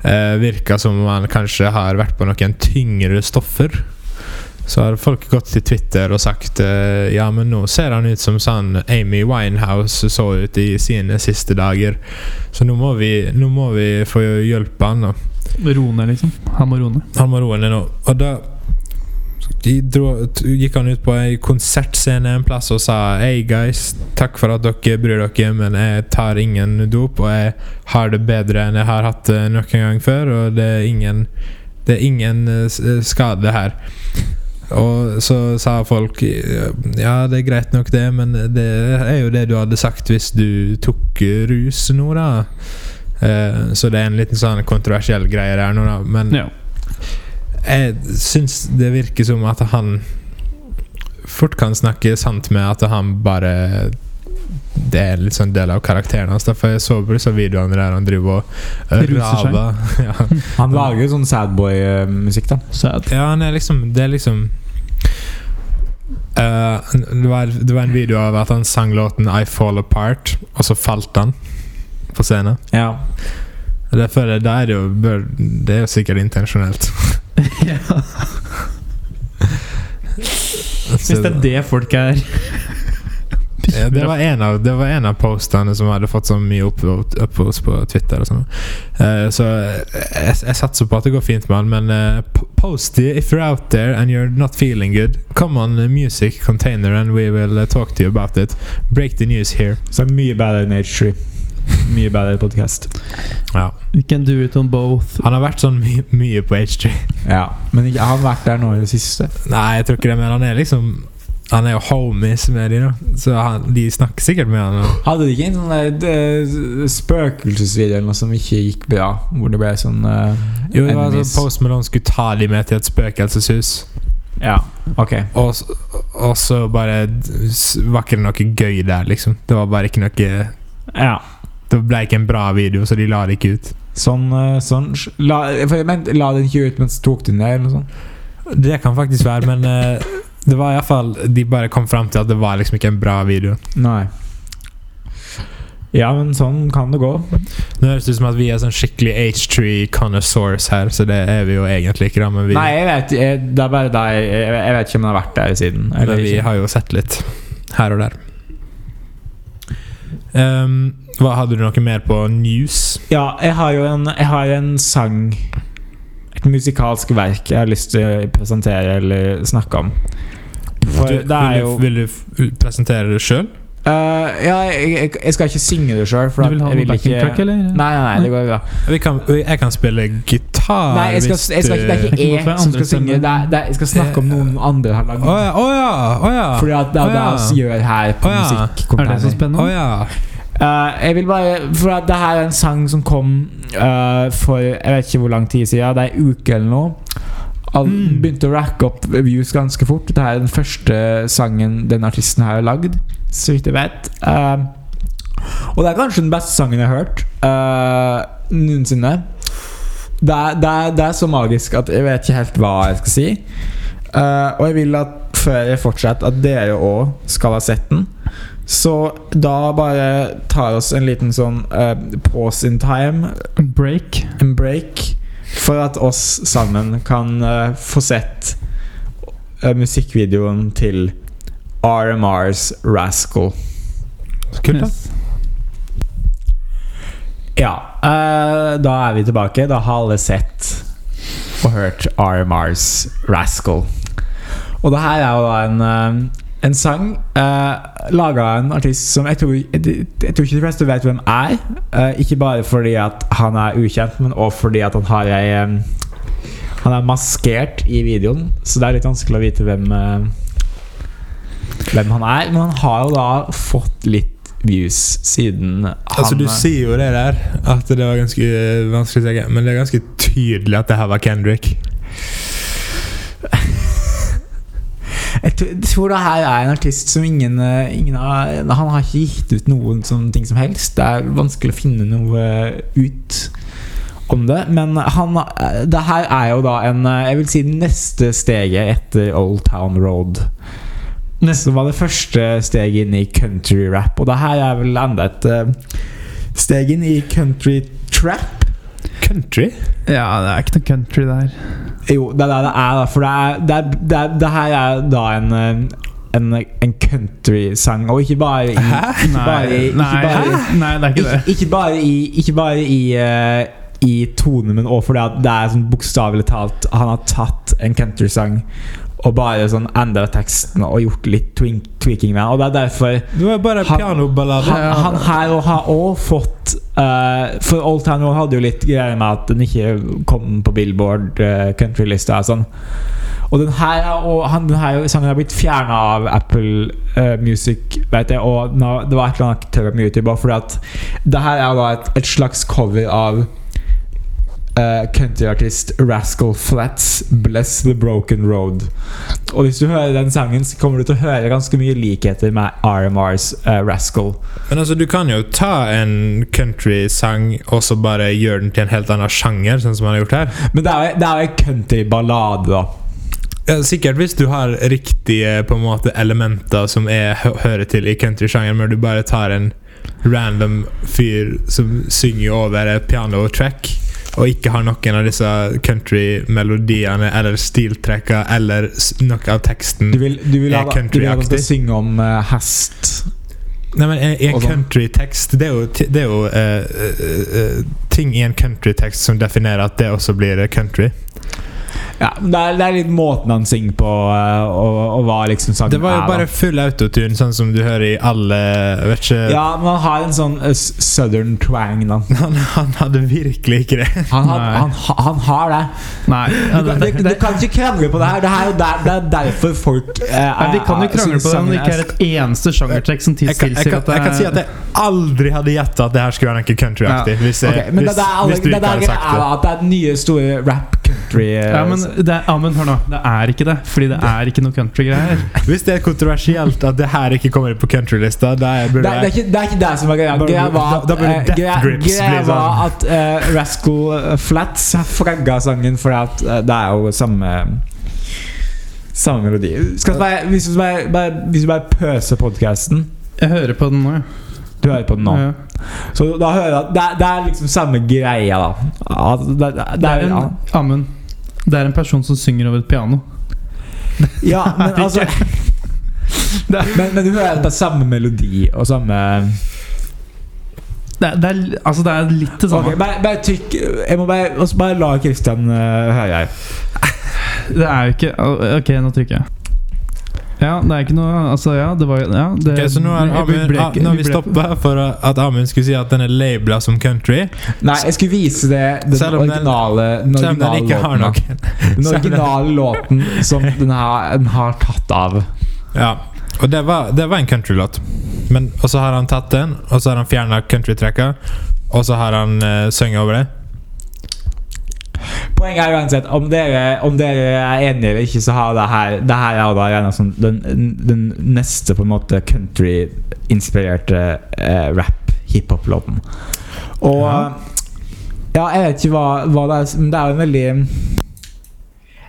S4: eh, virka som om han kanskje har vært på noen tyngre stoffer. Så har folk gått til Twitter og sagt eh, Ja, men nå ser han ut som sånn Amy Winehouse så ut i sine siste dager. Så nå må vi, nå må vi få hjelpe han. Og
S3: Rone, liksom. Han må roe ned.
S4: han må roe ned nå. Og da de dro, t- gikk han ut på ei konsertscene en plass og sa Hei, guys. Takk for at dere bryr dere, men jeg tar ingen dop, og jeg har det bedre enn jeg har hatt det noen gang før, og det er ingen det er ingen eh, s- eh, skade her. Og så sa folk Ja, det er greit nok, det, men det er jo det du hadde sagt hvis du tok eh, rus nå, da. Eh, så det er en liten sånn kontroversiell greie der nå, da. Men
S3: Ja.
S4: jeg syns det virker som at han fort kan snakke sant med at han bare Det er litt sånn del av karakteren hans. da, For jeg så på disse videoene der han driver og
S3: Ruser seg.
S4: raver. Ja.
S2: Han lager jo sånn sadboy-musikk, da.
S3: Sad.
S4: Ja, han er liksom Det er liksom Eh, det, var, det var en video av at han sang låten I Fall Apart, og så falt han på scenen.
S2: Ja.
S4: Og Det føler jeg, det er jo bør, Det er jo sikkert intensjonelt.
S3: ja.
S4: Så
S3: Hvis det er
S4: det,
S3: det folk er
S4: ja, det, var en av, det var en av postene som hadde fått så mye oppvote oppvotes på Twitter. og sånn Eh, Så jeg, jeg satser på at det går fint med han, men eh, p- Posty, if you're out there and you're not feeling good, come on eh, music container and we will eh, talk to you about it. Break the news here.
S2: Så mye bedre enn H3. Mye bedre podcast.
S3: We can do it on both.
S4: Han har vært sånn my mye på H3.
S2: Ja. Men ikke, har han vært der nå i det siste?
S4: Nei, jeg tror ikke det, men han er liksom Han er jo homies med de, da. Så han, de snakker sikkert med han. og-
S2: Hadde de ikke en sånn der det- spøkelsesvideo eller noe som ikke gikk bra? Hvor det ble sånn eh,
S4: Jo, det var
S2: enemies.
S4: sånn Post Malone skulle ta de med til et spøkelseshus,
S2: Ja, ok.
S4: og, s- og så bare d- s- var ikke det noe gøy der, liksom. Det var bare ikke noe
S2: Ja.
S4: Det ble ikke en bra video, så de la det ikke ut.
S2: Sånn, eh, sånn La, for jeg mente, la den ikke ut mens du tok den ned, eller noe sånt?
S4: Det kan faktisk være, men eh, det var iallfall De bare kom fram til at det var liksom ikke en bra video.
S2: Nei. Ja, men sånn kan det gå.
S4: Nå høres det ut som at vi er sånn skikkelig H3 connoisseurs her, så det er vi jo egentlig ikke, da, men vi
S2: Nei, jeg vet, jeg, det er bare deg jeg, jeg vet ikke om den har vært der siden. Eller
S4: Men vi
S2: ikke.
S4: har jo sett litt her og der. Ehm, hva Hadde du noe mer på news?
S2: Ja, jeg har jo en, jeg har en sang Et musikalsk verk jeg har lyst til å presentere eller snakke om. For
S4: Du,
S2: det
S4: vil,
S2: er
S4: du-
S2: jo
S4: vil du f- presentere det sjøl?
S2: Eh, ja, jeg, jeg, jeg skal ikke synge det sjøl.
S3: Du vil ha noe backing track, eller?
S2: Nei, nei, nei, det går bra.
S4: Vi kan, jeg kan spille
S3: Ah,
S4: gitar
S2: Nei, jeg skal, jeg skal, det er ikke
S3: Hvorfor er
S2: jeg som
S3: andre
S2: skal synge. Det er, det er, jeg skal snakke om noen andre har lagd.
S4: Å ja, å ja! Å ja!
S2: Fordi at det er
S4: Å,
S2: det
S4: ja.
S2: vi gjør her på
S4: Å, ja.
S3: Er det sånn så
S2: Musikkonteiner.
S4: Å
S3: spennende?
S4: ja.
S2: Eh, jeg vil bare For at det her er en sang som kom eh, for Jeg vet ikke hvor lang tid siden. Det er en uke eller noe. Al
S4: Mm.
S2: Begynte å racke opp views ganske fort. Dette er den første sangen den artisten her har lagd, så vidt jeg vet. Eh, og det er kanskje den beste sangen jeg har hørt eh, noensinne. Det er, det, er, det er så magisk at jeg vet ikke helt hva jeg skal si. Eh, og jeg vil at før jeg fortsetter, at dere òg skal ha sett den. Så da bare tar oss en liten sånn eh, pause in time,
S3: Break.
S2: en break, for at oss sammen kan eh, få sett eh, musikkvideoen til RMRs Rascal.
S4: Så kult, da.
S3: Yes.
S2: Ja, eh, da er vi tilbake. Da har alle sett og hørt RMRs Rascal. Og det her er jo da en, eh, en sang uh, laga av en artist som jeg tror, jeg, jeg tror ikke de fleste vet hvem er. Eh, ikke bare fordi at han er ukjent, men også fordi at han har ei eh, Han er maskert i videoen, så det er litt vanskelig å vite hvem eh, Hvem han er. Men han har jo da fått litt views siden han eh,
S4: Altså, du sier jo det der, at det var ganske eh, vanskelig å si, men det er ganske tydelig at det her var Kendrick.
S2: Jeg tr- jeg tror det her er en artist som ingen, eh, ingen har, Han har ikke gitt ut noen sånne ting som helst. Det er vanskelig å finne noe eh, ut om det. Men han, eh, det her er jo da en eh, Jeg vil si det neste steget etter Old Town Road. Neste var det første steget inn i country rap, og det her er vel enda et eh, steg inn i country trap.
S4: Country?
S3: Ja, det er ikke noe country der.
S2: Jo, det er det det er, da. For det, er, det, er, det, er, det her er da en eh, en, en countrysang, og ikke bare i, ikke bare, i- ikke
S3: nei,
S2: bare, i-
S3: nei, det er ikke
S2: ikke,
S3: det.
S2: ikke bare i, ikke bare i, eh, i tone, men også fordi at det er sånn bokstavelig talt Han har tatt en countrysang og bare sånn endra teksten og gjort litt twink, tweaking med den. Og det er derfor
S4: Det var bare
S2: Han-
S4: pianoballade.
S2: han, han her og har òg fått eh, For Old Town Road hadde jo litt greier med at den ikke kom på Billboard eh, countrylista og sånn. Og den her, er også- han, den her sangen har blitt fjerna av Apple eh, Music, vet jeg, og den har- det var et eller annet tøv med YouTube. bare Fordi at det her er da et, et slags cover av eh, countryartist Rascal Flats 'Bless The Broken Road'. Og hvis du hører den sangen, så kommer du til å høre ganske mye likheter med RMRs eh, Rascal.
S4: Men altså, du kan jo ta en countrysang og så bare gjøre den til en helt annen sjanger, sånn som han har gjort her.
S2: Men det er jo- det er jo en countryballade, da.
S4: Ja, sikkert hvis du har riktige på en måte elementer som er, hø hører til i countrysjangeren, men du bare tar en random fyr som synger over et piano-track, og ikke har noen av disse country-melodiene eller stiltrekka eller s- noe av teksten
S2: Du vil, du vil, ha,
S4: Er
S2: du vil ha dem til
S4: countryaktig.
S2: å synge om eh, hest.
S4: Nei, men i en
S2: Og sånn.
S4: countrytekst Det er jo, ti- det er jo eh, eh, eh, ting i en countrytekst som definerer at det også blir eh, country.
S2: Ja, men det, er, det er litt måten han synger på, eh, og, og hva liksom sangen
S4: Det var jo
S2: er.
S4: bare
S2: da.
S4: full autotune, sånn som du hører i alle jeg vet ikke,
S2: Ja, men han har en sånn eh, s- southern twang, da.
S4: han, han hadde virkelig ikke det.
S2: Han, har-
S3: Nei.
S2: han, ha- han har det.
S3: Nei,
S2: Du,
S3: ja, det,
S2: kan-
S3: det,
S2: du, du kan ikke krangle på det her. Det, her, er jo der, det er derfor folk eh,
S3: Nei, vi kan jo
S2: er-
S3: krangle
S2: synes
S3: på det om
S2: sangen
S3: det ikke er
S2: er-
S3: et eneste sjangertrekk som
S4: altså, Jeg kan, jeg,
S3: tilsier
S4: kan,
S3: at det
S4: jeg kan si at jeg aldri hadde gjetta at det her skulle være noe countryaktig. Hvis, jeg-
S2: Ok, men det
S4: hvis,
S2: det er alle-
S4: hvis du
S2: det
S4: ikke
S2: der
S4: hadde
S2: er
S4: sagt det.
S2: at det er nye, store rap country eh,
S3: ja, men, det, er- ja, men hør nå. Det er ikke det. Fordi det er ikke noe country-greier.
S4: Hvis det er kontroversielt at det her ikke kommer på countrylista, da er-
S2: Det,
S4: burde
S2: er- det, er
S4: jeg
S2: ikke, det er ikke det som er greia.
S4: Da-
S2: Greia var at,
S4: da- da burde
S2: eh,
S4: Death
S2: greia,
S4: Grips
S2: greia
S4: bli sånn.
S2: var at eh, Rascal eh, Flats fragga sangen fordi at eh, det er jo samme samme melodi. Skal vi bare, hvis, du bare, bare, hvis du bare pøser podkasten
S3: Jeg hører på den nå, ja.
S2: Du hører på den nå.
S3: Ja.
S2: Så da hører jeg at det, er- det er liksom samme greia, da. At det, det,
S3: Det
S2: er
S3: er
S2: ja.
S3: en Amund. Det er en person som synger over et piano.
S2: ja, men altså men, men du hører at det er samme melodi og samme
S3: Det er, det er, altså, det er litt det samme.
S2: Ok, bare, bare trykk Jeg må bare, og så bare la Christian eh, høre her.
S3: Det er jo ikke Ok, nå trykker jeg. Ja, det er ikke noe Altså, ja, det var jo ja, det,
S4: Ok, så nå har,
S3: vi
S4: Amund,
S3: ble
S4: ah,
S3: ikke-
S4: nå har vi
S3: ble-
S4: stoppa for at Amund skulle si at den er labela som country,
S2: Nei, jeg skulle vise det den
S4: Selv om den-
S2: originale, den
S4: selv om den
S2: originale
S4: ikke har
S2: låten. da.
S4: noe.
S2: Den
S4: Selv om den-
S2: originale låten som den har, den har tatt av.
S4: Ja, og det var, det var en countrylåt. Men- Og så har han tatt den, og så har han fjerna countrytracka, og så har han uh, sunget over det.
S2: Poenget er uansett, om dere, om dere er enige eller ikke, så har det her Det her er da gjerne sånn den, den neste på en måte country-inspirerte eh, rap-hiphop-låten. Og ja. jeg vet ikke hva, hva det er som- Men det er jo en veldig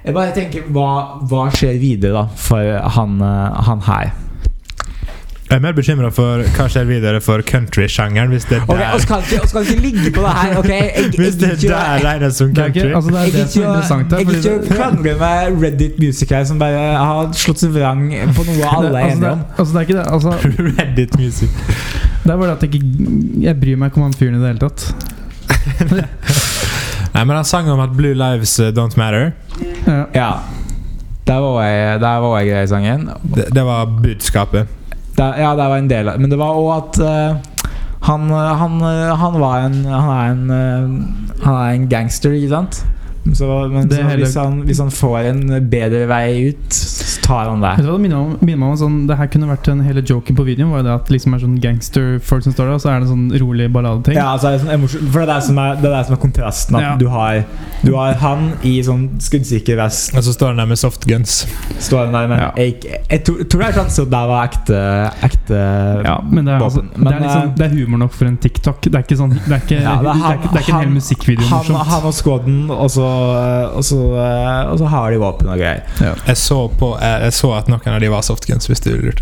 S2: Jeg bare tenker Hva, hva skjer videre, da, for han, eh, han her?
S4: Jeg er mer bekymra for hva skjer videre for countrysjangeren, hvis det er
S2: Ok,
S4: der
S2: og skal ikke, og skal ikke ligge på det her, ok? Jeg, jeg,
S4: Hvis det er der regnes som
S3: Det er
S4: country.
S3: ikke Altså, det er
S2: Jeg
S3: det som er interessant
S2: gidder
S3: her.
S2: ikke å
S3: fordi det-
S2: krangle med Reddit Music her, som bare har slått seg vrang på noe
S3: det-
S2: alle er
S3: altså, det-
S2: enige om.
S3: Altså, det er ikke det. Altså,
S4: Reddit music.
S3: det er bare det at jeg ikke Jeg bryr meg ikke om han fyren i det hele tatt.
S4: Nei, men han sang om at Blue Lives eh, Don't Matter.
S3: Ja.
S2: Ja. Der var jeg, der var jeg grei i sangen.
S4: Det, det var budskapet.
S2: Der, ja, der var en del av Men det var òg at eh, han, eh, han, eh, han var en Han er en, eh, han er en gangster, ikke sant? Så, men
S3: Det
S2: så
S3: hele-
S2: hvis, han, hvis han får en bedre vei ut, så tar han det.
S3: Vet du hva det minner meg om? Minner meg om sånn, det her kunne vært en hele joken på videoen. Var jo det at liksom er sånn gangster-folk som står der, og så er det en sånn rolig balladeting.
S2: Ja, altså, det er sånn emosjon- for det er det som er, det er, det som er kontrasten. At
S3: Ja.
S2: du, har, du har han i sånn skuddsikker vest
S4: Og så står han der med softguns.
S2: Står den der, men
S3: Ja.
S2: jeg, jeg, tror, tror det er sant så der var ekte, ekte
S3: Ja, men det er, altså,
S2: Våpen. Men,
S3: det, er liksom,
S2: eh,
S3: det er humor nok for en TikTok. Det er ikke sånn Det er ikke,
S2: Ja,
S3: det
S2: det er
S3: er
S2: han-
S3: ikke, det er ikke en hel
S2: han-
S3: musikkvideo
S2: han,
S3: morsomt.
S2: han og squaden, og så, eh, og, så, eh, og så har de våpen og greier.
S4: Jeg så, på, jeg, jeg så at noen av de var softguns, hvis du lurte.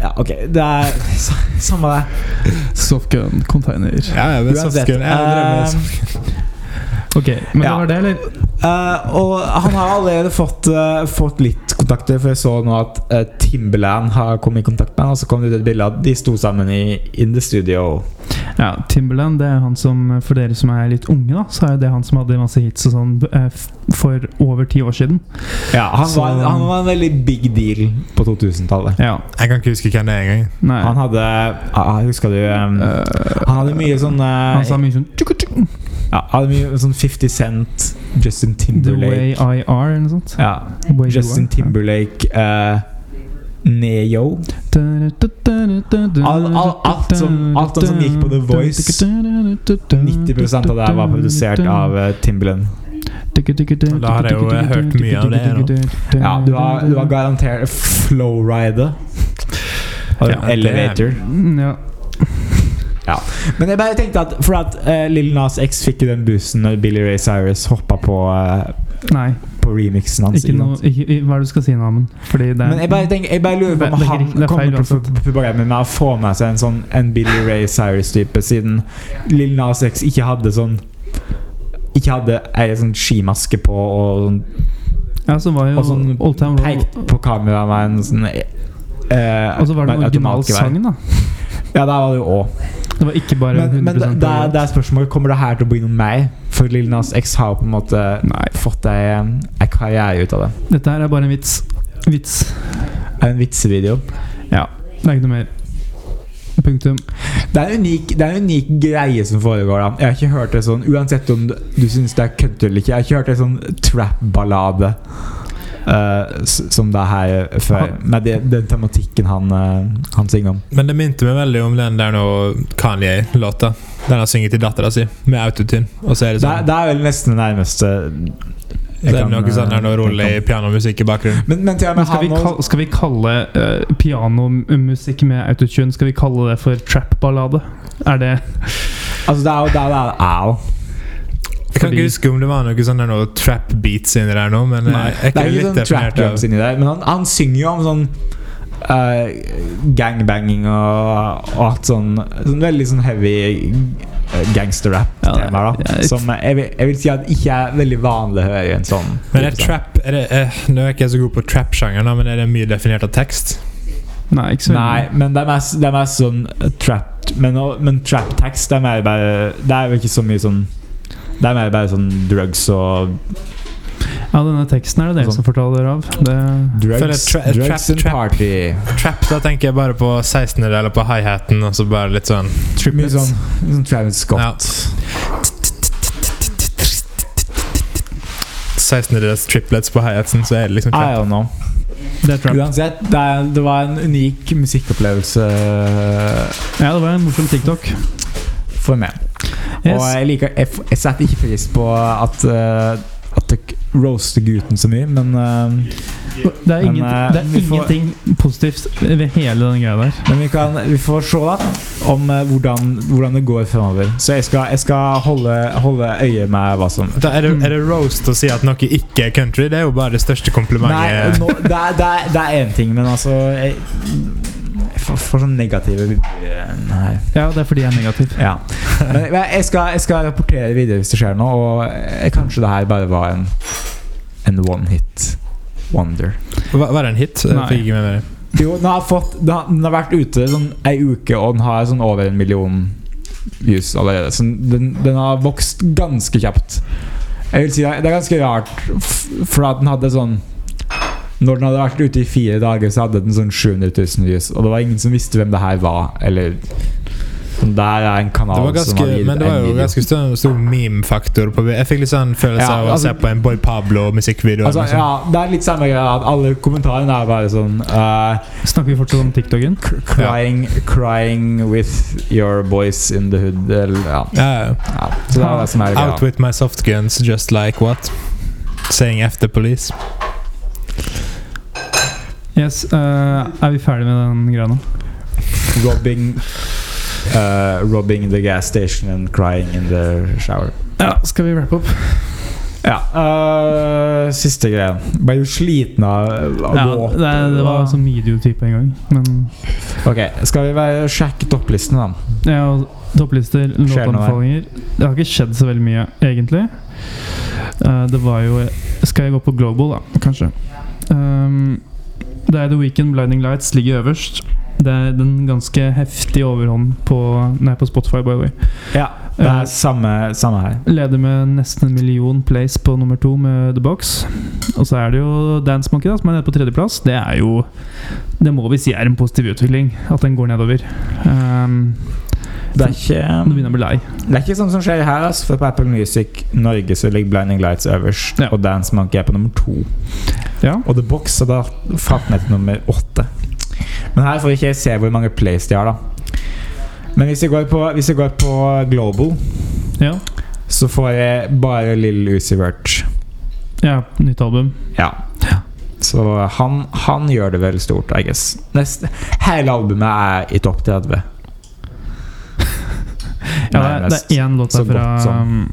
S2: Ja, ok, det er s- samme det.
S3: Softgun container.
S4: Ja, jeg vet
S2: Uansett,
S4: softgun. Jeg altså. drev med
S2: eh,
S4: softgun.
S3: liksom. Ok, men
S2: Ja.
S3: det var det, eller?
S2: Eh, og han har allerede fått, eh, fått litt kontakter, for jeg så nå at eh, Timberland har kommet i kontakt med han, og så kom det ut et bilde av at de sto sammen i In The Studio.
S3: Ja, Timberland, det er han som For dere som er litt unge, da, så er det han som hadde masse hits og sånn eh, f- for over ti år siden.
S2: Ja, han,
S3: Så-
S2: var, en- han var en veldig big deal på 2000-tallet.
S3: Ja,
S4: Jeg kan ikke huske hvem det er engang.
S3: nei Eh,
S2: Han hadde ah, Husker du um, Han hadde mye sånn eh,
S3: Han sa mye sånn tjuk, tjuk,
S2: Ja, hadde mye sånn 50 Cent, Justin
S3: The way
S2: Timberlake
S3: I are, eller noe sånt.
S2: ja,
S3: Way you
S2: Justin
S3: are.
S2: Timberlake eh, Neo Al- al- alt som- alt som gikk på The Voice, 90% av det her var produsert av eh, Timberland
S4: Da har jeg jo, eh, hørt mye av det her
S2: Ja, du har, du har garantert Flowrider
S4: Ja, det-
S2: Elevator
S3: Mm, Ja.
S2: Men jeg bare tenkte at For at eh, Lil Nas X fikk jo den boosten Når Billy Ray Cyrus hoppet på eh,
S3: Nei,
S2: På remixen hans
S3: ikke
S2: sant?
S3: noe ikke, i- Hva er det du skal si nå, Amund? Fordi det er
S2: Men jeg bare, tenker, jeg bare lurer
S3: Det-
S2: på om
S3: det er
S2: han
S3: ikke riktig, det er feil
S2: kommer til
S3: uansett.
S2: pro- problemet med å få med seg en sånn En Billy Ray Cyrus-type, siden Lill Nas X ikke hadde sånn Ikke hadde ei sånn skimaske på og sånn,
S3: Ja, så var jo
S2: og sånn
S3: Old Town Road
S2: pekt på kamera med en sånn eh, eh,
S3: Og så var det
S2: med
S3: den
S2: et
S3: originale
S2: automatgevær.
S3: sangen, da.
S2: Ja, der var det jo òg.
S3: Det var ikke bare 100
S2: Men, men det, det, er,
S3: originalt.
S2: det er spørsmålet Kommer det her til å bli noe mer? For Lill Nas X har jo på en måte
S3: Nei.
S2: fått ei, eh, ei karriere ut av det.
S3: Dette her er bare en vits. Vits.
S2: Det er En vitsevideo.
S3: Ja. Det er ikke noe mer. Punktum.
S2: Det er, en unik, det er en unik greie som foregår. da Jeg har ikke hørt det sånn Uansett om du, du syns det er kødd eller ikke, jeg har ikke hørt en sånn trap-ballade eh, s- som det her eh, før. Med det, den tematikken han, eh, han synger om.
S4: Men det minte meg veldig om den der nå Kanye-låta. Den han synger til dattera si med autotune. Og så er det
S2: Det, er-
S4: sånn
S2: det er vel nesten det nærmeste
S4: Så er det noe sånn der noe rolig
S2: jeg
S4: pianomusikk i bakgrunnen.
S2: kan- Men, men til og
S3: Men
S2: med
S3: skal, vi
S2: han
S3: kal- skal vi kalle eh, pianomusikk med autotune Skal vi kalle det for trap-ballade? Er det
S2: Altså Det er jo det er, det er, au.
S4: Jeg kan
S3: Fordi-
S4: ikke huske om det var noe sånn der noe trap beats inni der nå, men eh,
S3: Nei,
S4: jeg
S2: Det
S4: er
S2: er
S4: ikke
S2: ikke
S4: litt
S2: sånn trap
S4: definert av
S2: drums inni der, men han, han synger jo om sånn eh, gangbanging og, og alt sånn, sånn veldig sånn heavy eh,
S3: Ja,
S2: gangsterrap-temaer.
S3: det-
S2: da
S3: jeg-
S2: Som jeg, vil- jeg vil si at ikke er veldig vanlig å høre i en sånn.
S4: Men er trap er det, eh, Nå er jeg ikke så god på trap-sjangeren, da, men er det mye definert av tekst?
S3: Nei, ikke så veldig.
S2: Nei,
S4: sånn-
S2: men det er mest, det er mest sånn eh, trap Men, og- men trap-tekst det er mer bare Det er jo ikke så mye sånn Det er mer bare sånn drugs og
S3: Ja, Ja, denne teksten er det dere
S2: Sånn.
S3: som fortaler dere av. Det,
S2: Drugs,
S4: Føler jeg tra-
S2: drugs
S4: trap-
S2: and
S4: trap.
S2: party.
S4: Trap, da tenker jeg bare på 16 eller på hi-haten, og så bare litt sånn
S2: Mye
S4: triplets.
S2: sånn, mye sånn Travis Scott.
S4: Ja. 16 triplets på hi-hatsen, så er det liksom
S2: I
S4: trap.
S2: don't know.
S3: det er trap.
S2: Uansett, det, er, det var en unik musikkopplevelse eh,
S3: Ja, det var en morsom TikTok.
S2: for meg.
S3: Yes.
S2: Og eh, jeg liker Jeg, f- jeg setter ikke pris på at eh, At det k- roaster gutten så mye, men eh,
S3: Det er, ingen,
S2: Men, eh,
S3: det er
S2: vi får-
S3: ingenting positivt ved hele den greia der.
S2: Men vi, kan, vi får se da om eh, hvordan, hvordan det går fremover. Så jeg skal, jeg skal holde, holde øye med hva som
S4: Da er, det, er det roast å si at noe ikke er country? Det er jo bare det største
S2: Nei,
S4: komplimentet.
S2: nå, det er- det er- det er én ting, men altså Jeg, jeg får, får sånn negative Nei.
S3: Ja, det er fordi jeg er negativ.
S2: Ja. Men jeg- jeg skal, jeg skal rapportere videre hvis det skjer noe, og eh, kanskje det her bare var en, en one hit wonder.
S4: Var var det en hit?
S3: Nei.
S4: Jeg fikk ikke med meg det.
S2: Jo, den har, fått, den har, den har vært ute sånn ei uke, og den har sånn over en million views allerede. Så den, den har vokst ganske kjapt. Jeg vil si Det er- det er ganske rart, f- for at den hadde sånn Når den hadde vært ute i fire dager, så hadde den sånn 700 000 views, og det var ingen som visste hvem det her var, eller sånn, Der er en kanal
S4: Det var
S2: som har
S4: ganske,
S2: gitt
S4: men det var
S2: en
S4: jo
S2: video.
S4: ganske stor, stor meme-faktor. på Jeg fikk litt sånn følelse
S2: Ja,
S4: av å
S2: altså-
S4: se på en Boy Pablo-musikkvideo.
S2: Altså,
S3: liksom.
S2: ja, det er litt samme greia at alle kommentarene er bare sånn eh,
S3: Snakker vi fortsatt om TikToken?
S2: cr- crying, crying with your boys in the hood eller, ja.
S4: ja.
S2: ja. Så det er det som er
S4: Out
S2: greia.
S4: with my soft guns, just like what? Saying after police.
S3: Yes, eh, Er vi ferdig med den greia nå?
S2: Robbing eh, Robbing the gas station and crying in the shower.
S3: Ja, skal vi wrap up?
S2: Ja. eh, siste greia. Ble jo sliten av av
S3: Ja,
S2: våt.
S3: det, det var sånn mediotype en gang. Men
S2: Ok, skal vi være, sjekke topplisten, da?
S3: ja, og topplister,
S2: Skjer det noe her?
S3: låtanbefalinger Det har ikke skjedd så veldig mye, egentlig. Eh, det var jo Skal jeg gå på Global, da? Kanskje. Um, det er The Weekend Blinding Lights ligger øverst. Det er den ganske heftige overhånden på Nei, på Spotify, by the way.
S2: Ja, det
S3: Eh,
S2: er samme, samme her.
S3: Leder med nesten en million plays på nummer to med The Box. Og så er det jo Dance Monkey, da, som er nede på tredjeplass. Det er jo Det må vi si er en positiv utvikling, at den går nedover. Um,
S2: Det er ikke
S3: nå begynner jeg å bli lei.
S2: Det er ikke sånn som skjer her, ass, for på Apple Music Norge så ligger Blinding Lights øverst,
S3: Ja.
S2: og Dance Monkey er på nummer to.
S3: Ja.
S2: Og The Box har da falt ned til nummer åtte. Men her får vi ikke se hvor mange plays de har, da. Men hvis vi går på, hvis vi går på Global,
S3: ja.
S2: så får jeg bare Lill Uzi Vert.
S3: Ja, nytt album.
S2: Ja. Så han, han gjør det vel stort, I guess. Neste, hele albumet er i topp 30.
S3: Ja, det, er- det
S2: Nærmest.
S3: er én låt
S2: så
S3: der fra
S2: godt
S3: um,
S2: som.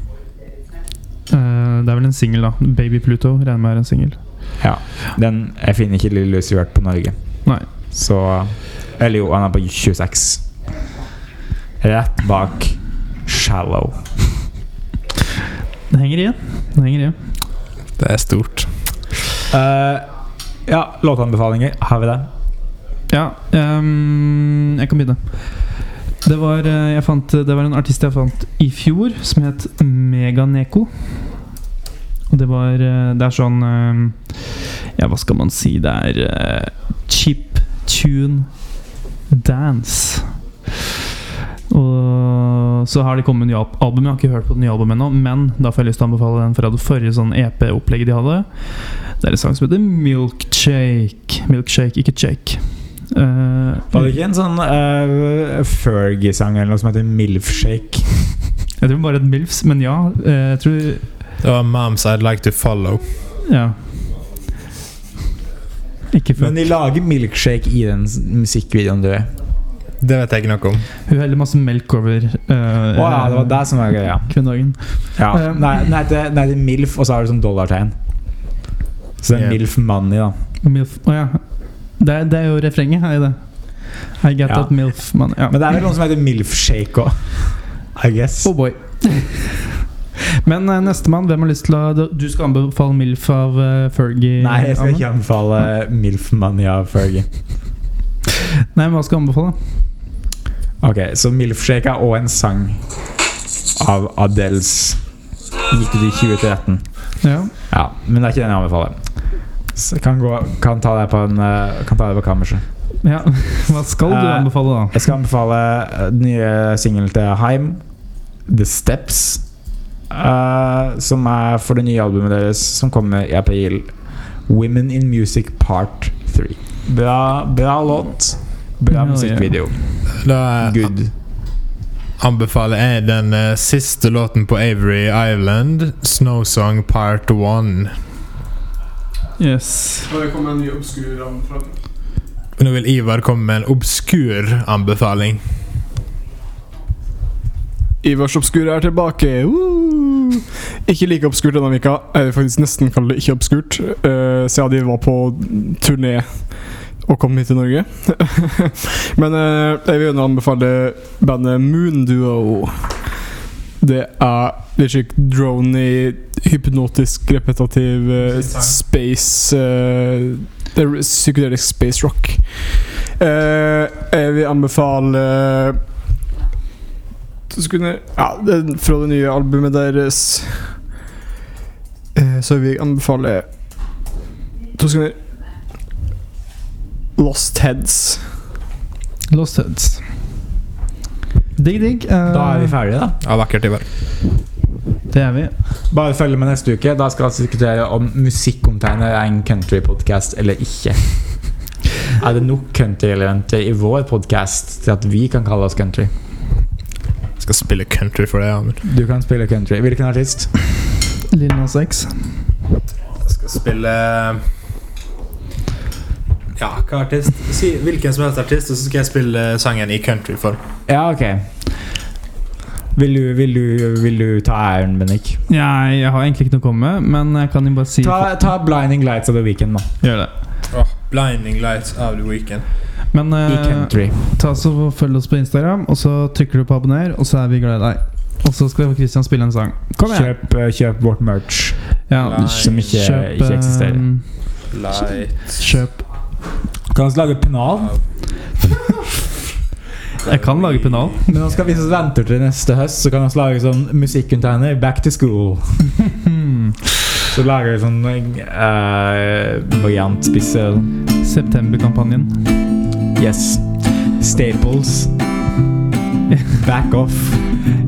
S3: eh, Det er vel en singel, da. 'Baby Pluto' regner med er en singel.
S2: Ja. Den, jeg finner ikke Lill Uzi Vert på Norge.
S3: Nei.
S2: Så Eller jo, han er på 26. Rett bak Shallow.
S3: Det henger igjen. Det henger igjen.
S4: Det er stort.
S2: Eh, ja, låtanbefalinger. Har vi det?
S3: Ja, ehm, jeg kan begynne. Det var, eh, jeg fant, det var en artist jeg fant i fjor, som het Meganeko. Og det var eh, Det er sånn ehm, Ja, hva skal man si? Det er eh, chip tune dance. Og så har det kommet nye al- album. Jeg har ikke hørt på det nye albumet ennå, men da får jeg lyst til å anbefale den fra det forrige sånn EP-opplegget de hadde. Det er en sang som heter Milkshake. Milkshake, ikke shake. Eh,
S2: Var det ikke en sånn eh, Fergie-sang eller noe som heter Milfshake?
S3: jeg tror bare et milfs, men ja. eh, jeg tror
S4: Det var Moms I'd Like To Follow.
S3: Ja. Ikke før.
S2: Men de lager milkshake i den s- musikkvideoen, du. Å
S4: Det vet jeg ikke noe om.
S3: Hun heller masse melk over uh,
S2: ja, det var det som var greia.
S3: kvinnedagen.
S2: Ja.
S3: Eh,
S2: Nei, den heter, den heter Milf, og så har du sånn dollartegn. Så det er
S4: Yeah.
S2: Milf Money, da.
S3: Milf. Å ja. Det, er- det er jo refrenget her i det. I get
S2: Ja.
S3: that milf, man. Ja.
S2: Men det er vel noen som heter Milfshake òg. I guess.
S3: Oh boy. Men eh, nestemann, hvem har lyst til å Du skal anbefale Milf av eh, Fergie?
S2: Nei, jeg skal
S3: Anne?
S2: ikke anbefale Milf Money av Fergie.
S3: Nei, men hva skal jeg anbefale?
S2: Ok, så Milfshake er også en sang av Adels Gitt ut i 2013
S3: Ja.
S2: Ja, men det er ikke den jeg anbefaler. Så jeg kan, gå, kan ta det på en eh, Kan ta det på kammerset.
S3: Ja, Hva skal du
S2: Eh,
S3: anbefale, da?
S2: Jeg skal anbefale eh, den nye singelen til Heim, The Steps. eh, som er for det nye albumet deres, som kommer i april. Women in Music Part 3. Bra, bra låt. Bra
S3: Hell
S2: musikkvideo.
S4: Da eh,
S2: Good.
S4: anbefaler jeg den eh, siste låten på Avery Island, 'Snowsong Part 1'.
S3: Yes.
S5: Og det kommer en ny obskur anbefaling.
S4: Nå vil Ivar komme med en obskur anbefaling.
S5: Ivars obskure er tilbake! Woo! uh. Ikke like obskurt denne vika Jeg vil faktisk nesten kalle det ikke obskurt, eh, siden de var på turné og kom hit til Norge. Men eh, jeg vil gjerne anbefale bandet Moonduo. Det er litt slik drony, hypnotisk, repetativ eh, space eh, Det er Psykedelisk space rock. Eh, jeg vil anbefale så skulle jeg- ja, det, Fra det nye albumet deres eh, Så vil jeg anbefale To sekunder Lost Heads
S3: Lost Heads. Digg, digg. eh,
S2: Da er vi ferdige, da.
S4: Ja, vakkert, Ivar.
S3: det er vi.
S2: Bare følg med neste uke. Da skal vi diskutere om musikkomtegner er en countrypodkast eller ikke. Er det nok country-elementer i vår podkast til at vi kan kalle oss country?
S4: Skal spille country for deg, Amund.
S2: Du kan spille country. Hvilken artist?
S3: Lille Nas X.
S4: Skal spille Ja, hva artist? Si hvilken som helst artist, og så skal jeg spille eh, sangen i countryform.
S2: Ja, ok. Vil du, vil du, vil du ta æren, Bennik?
S3: Jeg, jeg har egentlig ikke noe å komme med, men jeg kan jo bare si
S2: Ta, ta 'Blinding Lights of the Weekend', da.
S3: Gjør det.
S4: Blinding Lights of the Weekend.
S3: Men
S2: I
S3: eh,
S2: country.
S3: ta så følg oss på Instagram, og så trykker du på abonner, og så er vi glad i deg. Og så skal Christian spille en sang. Kom igjen! eh,
S2: Kjøp, eh, kjøp vårt merch.
S3: Ja,
S2: Som ikke,
S3: kjøp,
S2: ikke eksisterer.
S3: eh,
S4: Lights
S3: Kjøp
S2: eh, Kan vi lage pennal?
S3: Jeg kan lage pennal.
S2: Men nå skal vi som venter til neste høst, så kan vi lage sånn musikkonteiner. Back to school.
S3: Hmm.
S2: Så lager vi sånn eh, variant spissel.
S3: Septemberkampanjen.
S2: Yes. Staples. Back off.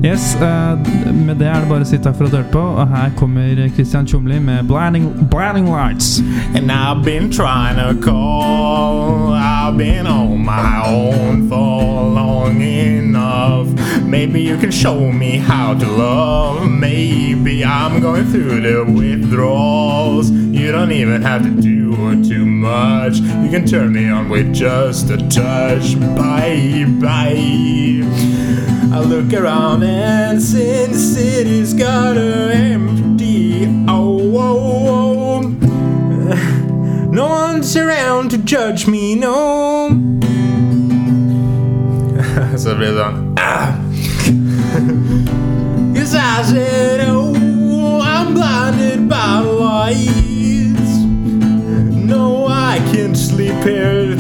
S3: Yes, eh, med det er det bare å si takk for at du hørte på, og her kommer Christian Tjomli med Blinding, Blinding Lights.
S4: And I've been trying to call. I've been on my own for long enough. Maybe you can show me how to love. Maybe I'm going through the withdrawals. You don't even have to do too much. You can turn me on with just a touch. Bye bye. I look around and Sin City's got her empty. Oh, oh, oh.
S1: oh.
S4: No one's around to judge me, no. Så det blir sånn Cause I said, oh, I'm blinded by lights. No, I can't sleep here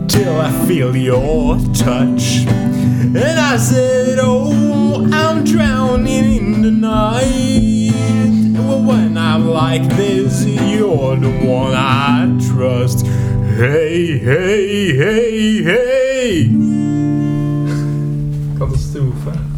S4: till I feel your touch. And I said, Oh, I'm drowning in the night. Well, when I'm like this, you're the one I trust. Hey, hey, hey, hey! Katastrofe.